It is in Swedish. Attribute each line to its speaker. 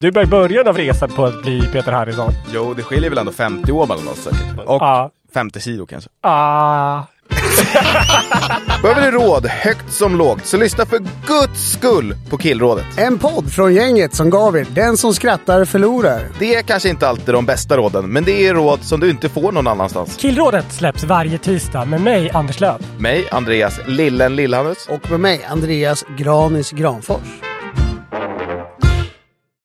Speaker 1: Du är bara i början av resan på att bli Peter Harrison.
Speaker 2: Jo, det skiljer väl ändå 50 år mellan oss säkert. Och
Speaker 1: Ja.
Speaker 2: 50 kilo kanske.
Speaker 1: Ah.
Speaker 2: Behöver du råd, högt som lågt, så lyssna för guds skull på Killrådet.
Speaker 3: En podd från gänget som gav er Den som skrattar förlorar.
Speaker 2: Det är kanske inte alltid de bästa råden, men det är råd som du inte får någon annanstans.
Speaker 1: Killrådet släpps varje tisdag med mig, Anders Löf.
Speaker 2: Mig, Andreas Lillen Lillhannes.
Speaker 3: Och med mig, Andreas Granis Granfors.